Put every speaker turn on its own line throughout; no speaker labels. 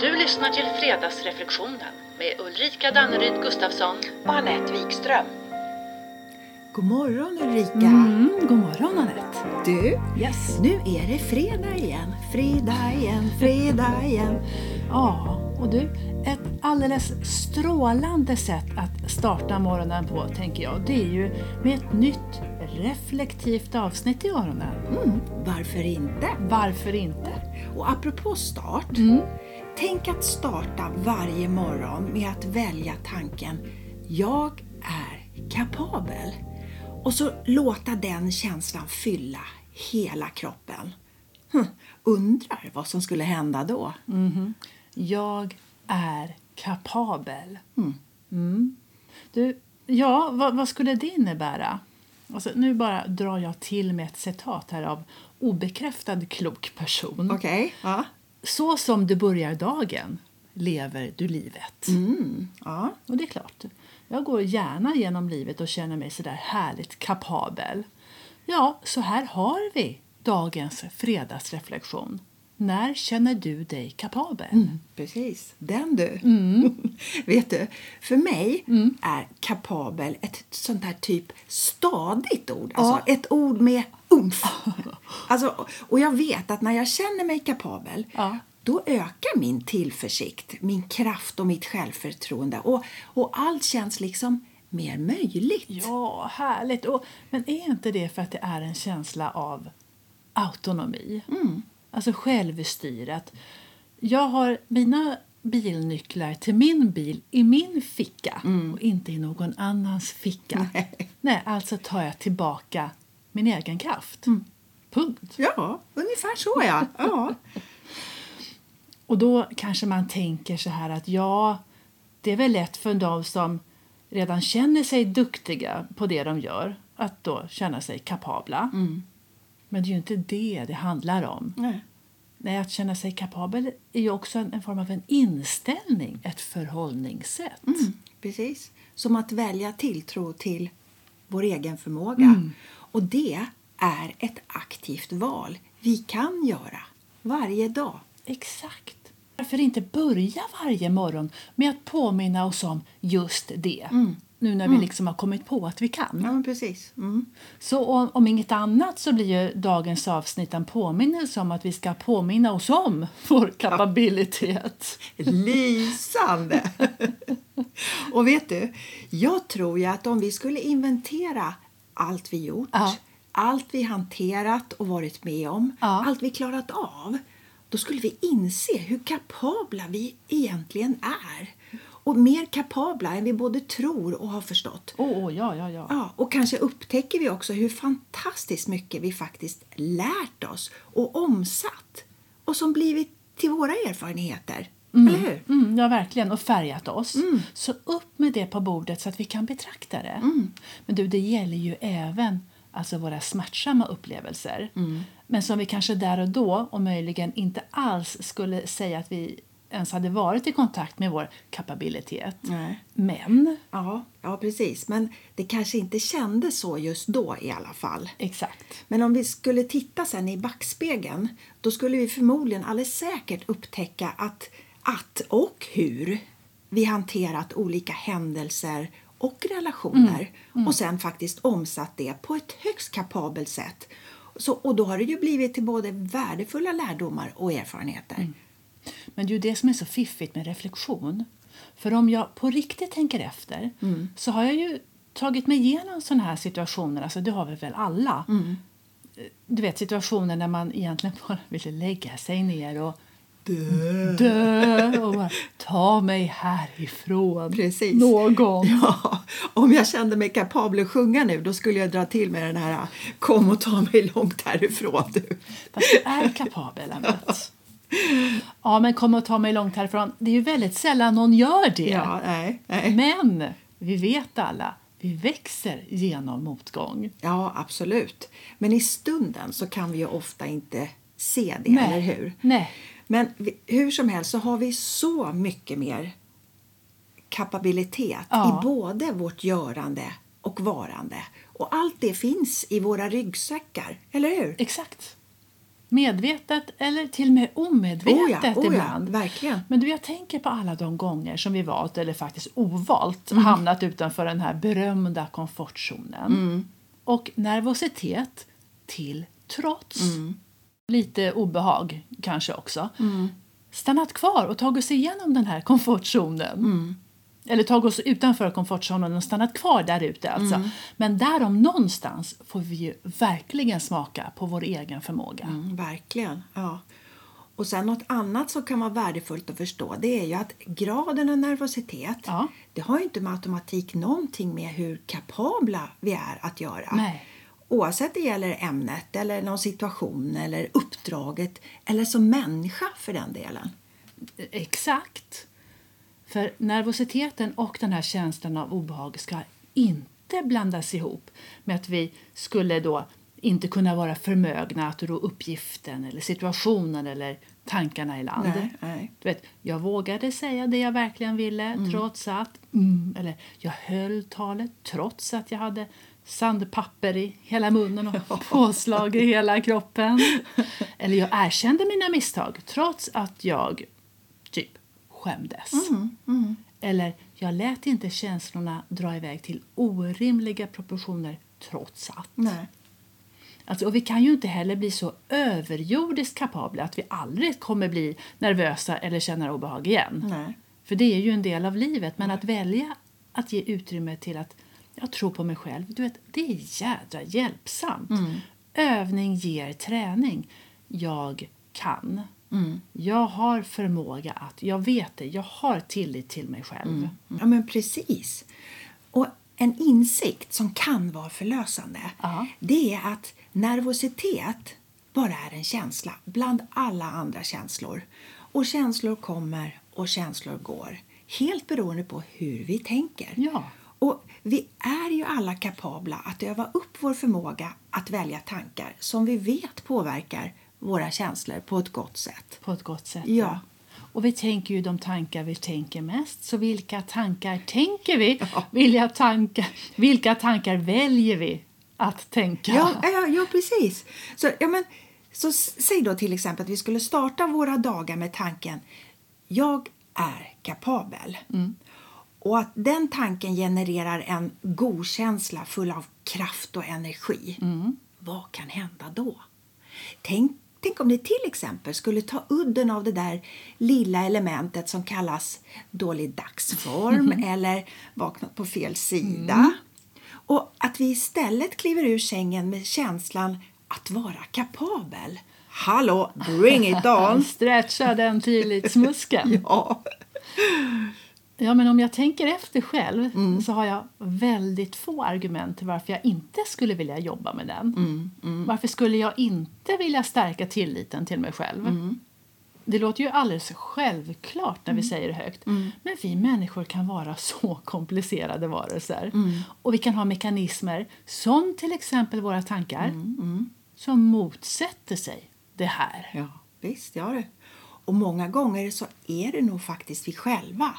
Du lyssnar till Fredagsreflektionen med Ulrika Danneryd Gustafsson
och Anette Wikström.
God morgon Ulrika!
Mm, god morgon Anette!
Du,
Yes.
nu är det fredag igen, fredag igen, fredag igen.
Ja, och du, ett alldeles strålande sätt att starta morgonen på tänker jag, det är ju med ett nytt reflektivt avsnitt i öronen.
Mm, varför inte?
Varför inte?
Och apropå start, tänk att starta varje morgon med att välja tanken Jag är kapabel. Och så låta den känslan fylla hela kroppen. Hm, undrar vad som skulle hända då?
Jag är kapabel. Mm. Du, ja, vad, vad skulle det innebära? Alltså, nu bara drar jag till med ett citat här av obekräftad klok person.
Okej, ja.
Så som du börjar dagen lever du livet.
Mm, ja.
Och det är klart, jag går gärna genom livet och känner mig sådär härligt kapabel. Ja, så här har vi dagens fredagsreflektion. När känner du dig kapabel?
Mm. Precis, den du.
Mm.
Vet du, för mig är kapabel ett sånt här typ stadigt ord. Alltså ett ord med umf. alltså, och jag vet att när jag känner mig kapabel
Ja.
då ökar min tillförsikt, min kraft och mitt självförtroende. Och, och allt känns liksom mer möjligt.
Ja, härligt. Och, men är inte det för att det är en känsla av autonomi? Alltså självstyre. Att jag har mina bilnycklar till min bil i min ficka och inte i någon annans ficka.
Nej.
Nej, alltså tar jag tillbaka min egen kraft. Punkt.
Ja, ungefär så ja. ja.
Och då kanske man tänker så här att ja, det är väl lätt för de som redan känner sig duktiga på det de gör att då känna sig kapabla. Men det är ju inte det det handlar om.
Nej.
Nej, att känna sig kapabel är ju också en, en form av en inställning, ett förhållningssätt.
Mm. Precis. Som att välja tilltro till vår egen förmåga. Och det är ett aktivt val vi kan göra varje dag.
Exakt. Varför inte börja varje morgon med att påminna oss om just det? Nu när vi liksom har kommit på att vi kan.
men precis.
Så om, om inget annat så blir ju dagens avsnitt en påminnelse om att vi ska påminna oss om vår kapabilitet.
Lysande! och vet du, jag tror ju att om vi skulle inventera allt vi gjort,
Ja.
allt vi hanterat och varit med om,
Ja.
allt vi klarat av, då skulle vi inse hur kapabla vi egentligen är. Och mer kapabla än vi både tror och har förstått.
Åh, åh, ja, ja, ja.
Ja, och kanske upptäcker vi också hur fantastiskt mycket vi faktiskt lärt oss och omsatt och som blivit till våra erfarenheter. Eller hur?
Mm, ja, verkligen. Och färgat oss. Så upp med det på bordet så att vi kan betrakta det. Men du, det gäller ju även alltså våra smärtsamma upplevelser. Men som vi kanske där och då och möjligen inte alls skulle säga att vi ens hade varit i kontakt med vår kapabilitet.
Nej.
Men,
Ja, ja, precis. Men det kanske inte kändes så just då i alla fall.
exakt.
Men om vi skulle titta sen i backspegeln då skulle vi förmodligen alldeles säkert upptäcka att, att och hur vi hanterat olika händelser och relationer och sen faktiskt omsatt det på ett högst kapabelt sätt. Så, och då har det ju blivit till både värdefulla lärdomar och erfarenheter.
Men det är ju det som är så fiffigt med reflektion. För om jag på riktigt tänker efter
Mm.
så har jag ju tagit mig igenom sådana här situationer, alltså det har vi väl alla.
Mm.
Du vet situationer när man egentligen bara ville lägga sig ner och dö, och bara, ta mig härifrån
Precis.
någon.
Ja, om jag kände mig kapabel att sjunga nu då skulle jag dra till med den här äh, Kom och ta mig långt härifrån du.
Fast du är kapabel, Anette. Ja, men kom och ta mig långt härifrån. Det är ju väldigt sällan någon gör det.
Ja, nej, nej.
Men vi vet alla, vi växer genom motgång.
Ja, absolut. Men i stunden så kan vi ju ofta inte se det,
Nej.
eller hur?
Nej.
Men vi, hur som helst så har vi så mycket mer kapabilitet
Ja.
i både vårt görande och varande. Och allt det finns i våra ryggsäckar, eller hur?
Exakt. Medvetet eller till och med omedvetet
Oh ja, oh ja,
ibland.
verkligen.
Men du, jag tänker på alla de gånger som vi valt, eller faktiskt ovalt,
Mm.
hamnat utanför den här berömda komfortzonen.
Mm.
Och nervositet till trots.
Mm.
Lite obehag kanske också. Stannat kvar och tagit oss igenom den här komfortzonen.
Mm.
Eller tagit oss utanför komfortzonen och stannat kvar där ute alltså.
Mm.
Men därom någonstans får vi ju verkligen smaka på vår egen förmåga.
Mm, verkligen. Ja. Och sen något annat som kan vara värdefullt att förstå det är ju att graden av nervositet
Ja.
det har ju inte med automatik någonting med hur kapabla vi är att göra.
Nej.
Oavsett det gäller ämnet, eller någon situation, eller uppdraget eller som människa för den delen.
Exakt. För nervositeten och den här känslan av obehag ska inte blandas ihop med att vi skulle då inte kunna vara förmögna att ro uppgiften eller situationen eller tankarna i land.
Nej, nej.
Du vet, jag vågade säga det jag verkligen ville trots att... Mm, eller jag höll talet trots att jag hade sandpapper i hela munnen och påslag i hela kroppen. Eller jag erkände mina misstag trots att jag typ skämdes. Eller jag lät inte känslorna dra iväg till orimliga proportioner trots att.
Nej.
Alltså, och vi kan ju inte heller bli så överjordiskt kapabla att vi aldrig kommer bli nervösa eller känna obehag igen.
Nej.
För det är ju en del av livet. Men att välja att ge utrymme till att jag tror på mig själv, du vet, det är jädra hjälpsamt. Övning ger träning. Jag kan. Jag har förmåga att, jag vet det, jag har tillit till mig själv.
Ja, men precis. Och en insikt som kan vara förlösande
Ja.
det är att nervositet bara är en känsla bland alla andra känslor. Och känslor kommer och känslor går helt beroende på hur vi tänker.
Ja.
Och vi är ju alla kapabla att öva upp vår förmåga att välja tankar som vi vet påverkar våra känslor på ett gott sätt.
På ett gott sätt.
Ja.
Och vi tänker ju de tankar vi tänker mest. Så vilka tankar tänker vi? Vilka tankar, vilka tankar väljer vi att tänka?
Ja, ja, ja precis. Så, ja, men, så s- säg då till exempel att vi skulle starta våra dagar med tanken Jag är kapabel. Och att den tanken genererar en god känsla full av kraft och energi. Vad kan hända då? Tänk, tänk om det till exempel skulle ta udden av det där lilla elementet som kallas dålig dagsform eller vaknat på fel sida. Och att vi istället kliver ur sängen med känslan att vara kapabel. Hallå, bring it on!
Stretcha den tillitsmuskeln.
ja.
Ja, men om jag tänker efter själv så har jag väldigt få argument till varför jag inte skulle vilja jobba med den. Varför skulle jag inte vilja stärka tilliten till mig själv? Det låter ju alldeles självklart när vi säger det högt. Men vi människor kan vara så komplicerade varelser. Och vi kan ha mekanismer, som till exempel våra tankar, som motsätter sig det här.
ja, visst ja du. Och många gånger så är det nog faktiskt vi själva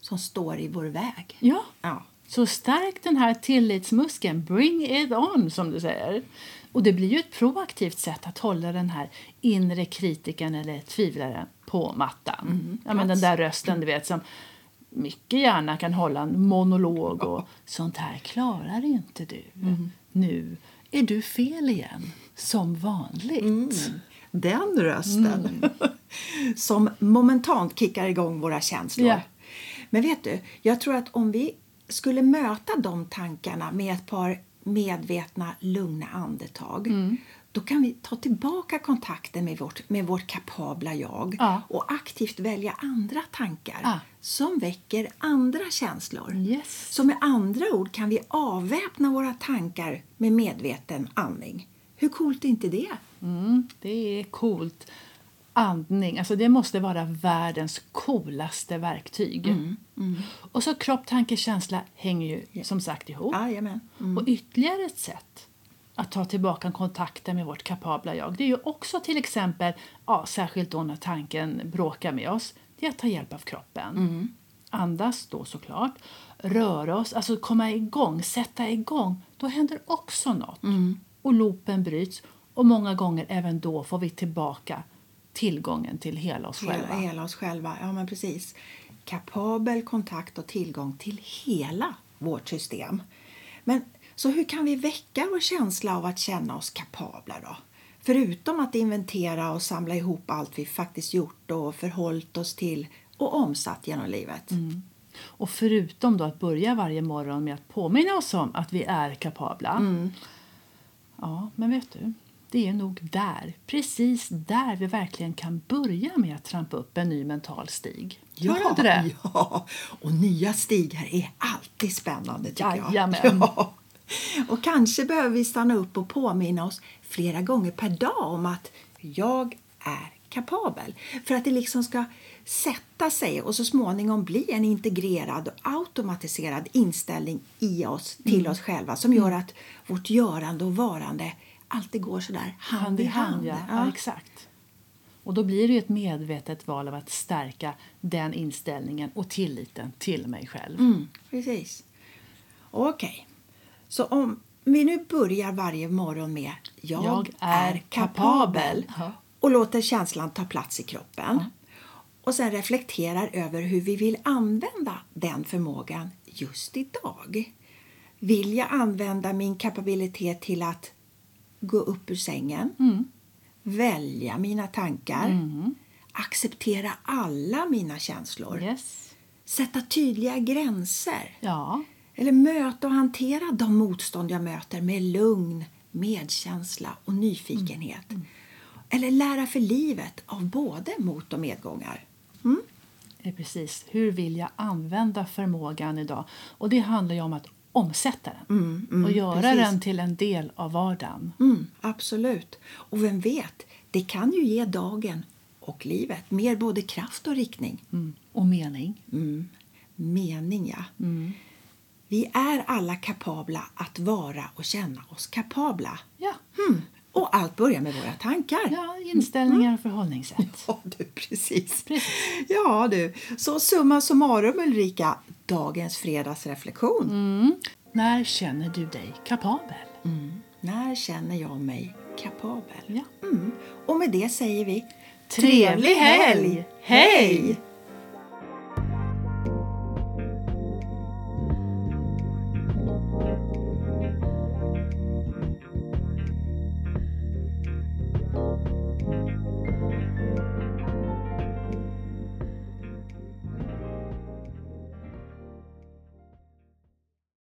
som står i vår väg.
Ja.
Ja.
Så stärk den här tillitsmuskeln, bring it on som du säger. Och det blir ju ett proaktivt sätt att hålla den här inre kritiken eller tvivlaren på mattan. ja, men den där rösten du vet som mycket gärna kan hålla en monolog och sånt här klarar inte du. Nu är du fel igen, som vanligt.
Den rösten som momentant kickar igång våra känslor.
Mm. Ja.
Men vet du, jag tror att om vi skulle möta de tankarna med ett par medvetna, lugna andetag
Mm.
då kan vi ta tillbaka kontakten med vårt, med vårt kapabla jag
Ja.
och aktivt välja andra tankar
Ja.
som väcker andra känslor.
Yes.
Så med andra ord kan vi avväpna våra tankar med medveten andning. Hur coolt är inte det?
Mm, det är coolt. Andning, alltså det måste vara världens coolaste verktyg. Och så kropp, tanke, känsla hänger ju som sagt ihop.
Jajamän.
Och ytterligare ett sätt att ta tillbaka kontakten med vårt kapabla jag, det är ju också till exempel, ja, särskilt då när tanken bråkar med oss, det är att ta hjälp av kroppen. Andas då såklart, röra oss, alltså komma igång, sätta igång. Då händer också något. Och loopen bryts Och många gånger även då får vi tillbaka tillgången till hela oss
Hela,
själva.
hela oss själva. Ja, men precis. Kapabel kontakt och tillgång till hela vårt system. Men så hur kan vi väcka vår känsla av att känna oss kapabla då? Förutom att inventera och samla ihop allt vi faktiskt gjort och förhållit oss till och omsatt genom livet.
Och förutom då att börja varje morgon med att påminna oss om att vi är kapabla.
Mm.
Ja, men vet du? Det är nog där, precis där vi verkligen kan börja med att trampa upp en ny mental stig. Hör du det?
Ja, och nya stigar är alltid spännande tycker
Jajamän.
jag. Ja. Och kanske behöver vi stanna upp och påminna oss flera gånger per dag om att jag är kapabel. För att det liksom ska sätta sig och så småningom bli en integrerad och automatiserad inställning i oss, till
Mm.
oss själva som gör att vårt görande och varande alltid går sådär hand, hand i hand.
ja. ja,
Ja.
exakt. Och då blir det ju ett medvetet val av att stärka den inställningen och tilliten till mig själv.
Mm, precis. Okej. Så om vi nu börjar varje morgon med Jag,
Jag
är
är
kapabel
kapabel. Ja.
och låter känslan ta plats i kroppen och sen reflekterar över hur vi vill använda den förmågan just idag. Vill jag använda min kapabilitet till att gå upp ur sängen,
Mm.
välja mina tankar, acceptera alla mina känslor,
Yes.
sätta tydliga gränser
Ja,
eller möta och hantera de motstånd jag möter med lugn, medkänsla och nyfikenhet.
Mm,
Eller lära för livet av både mot och medgångar.
det är Eh, precis. Hur vill jag använda förmågan idag? Och det handlar ju om att omsätta den och göra
Mm, precis.
den till en del av vardagen.
Mm, absolut. Och vem vet, det kan ju ge dagen och livet mer både kraft och riktning.
Mm. Och mening.
Mm. Mening, ja.
Mm.
Vi är alla kapabla att vara och känna oss kapabla.
Ja,
Hmm. Och allt börjar med våra tankar.
ja inställningar och förhållningssätt.
Ja, du, precis.
Precis.
Ja, du. Så summa summarum, Ulrika, dagens fredagsreflektion.
Mm. När känner du dig kapabel?
Mm. När känner jag mig kapabel?
Ja.
Mm. Och med det säger vi
Trevlig helg!
Hej!
Hej!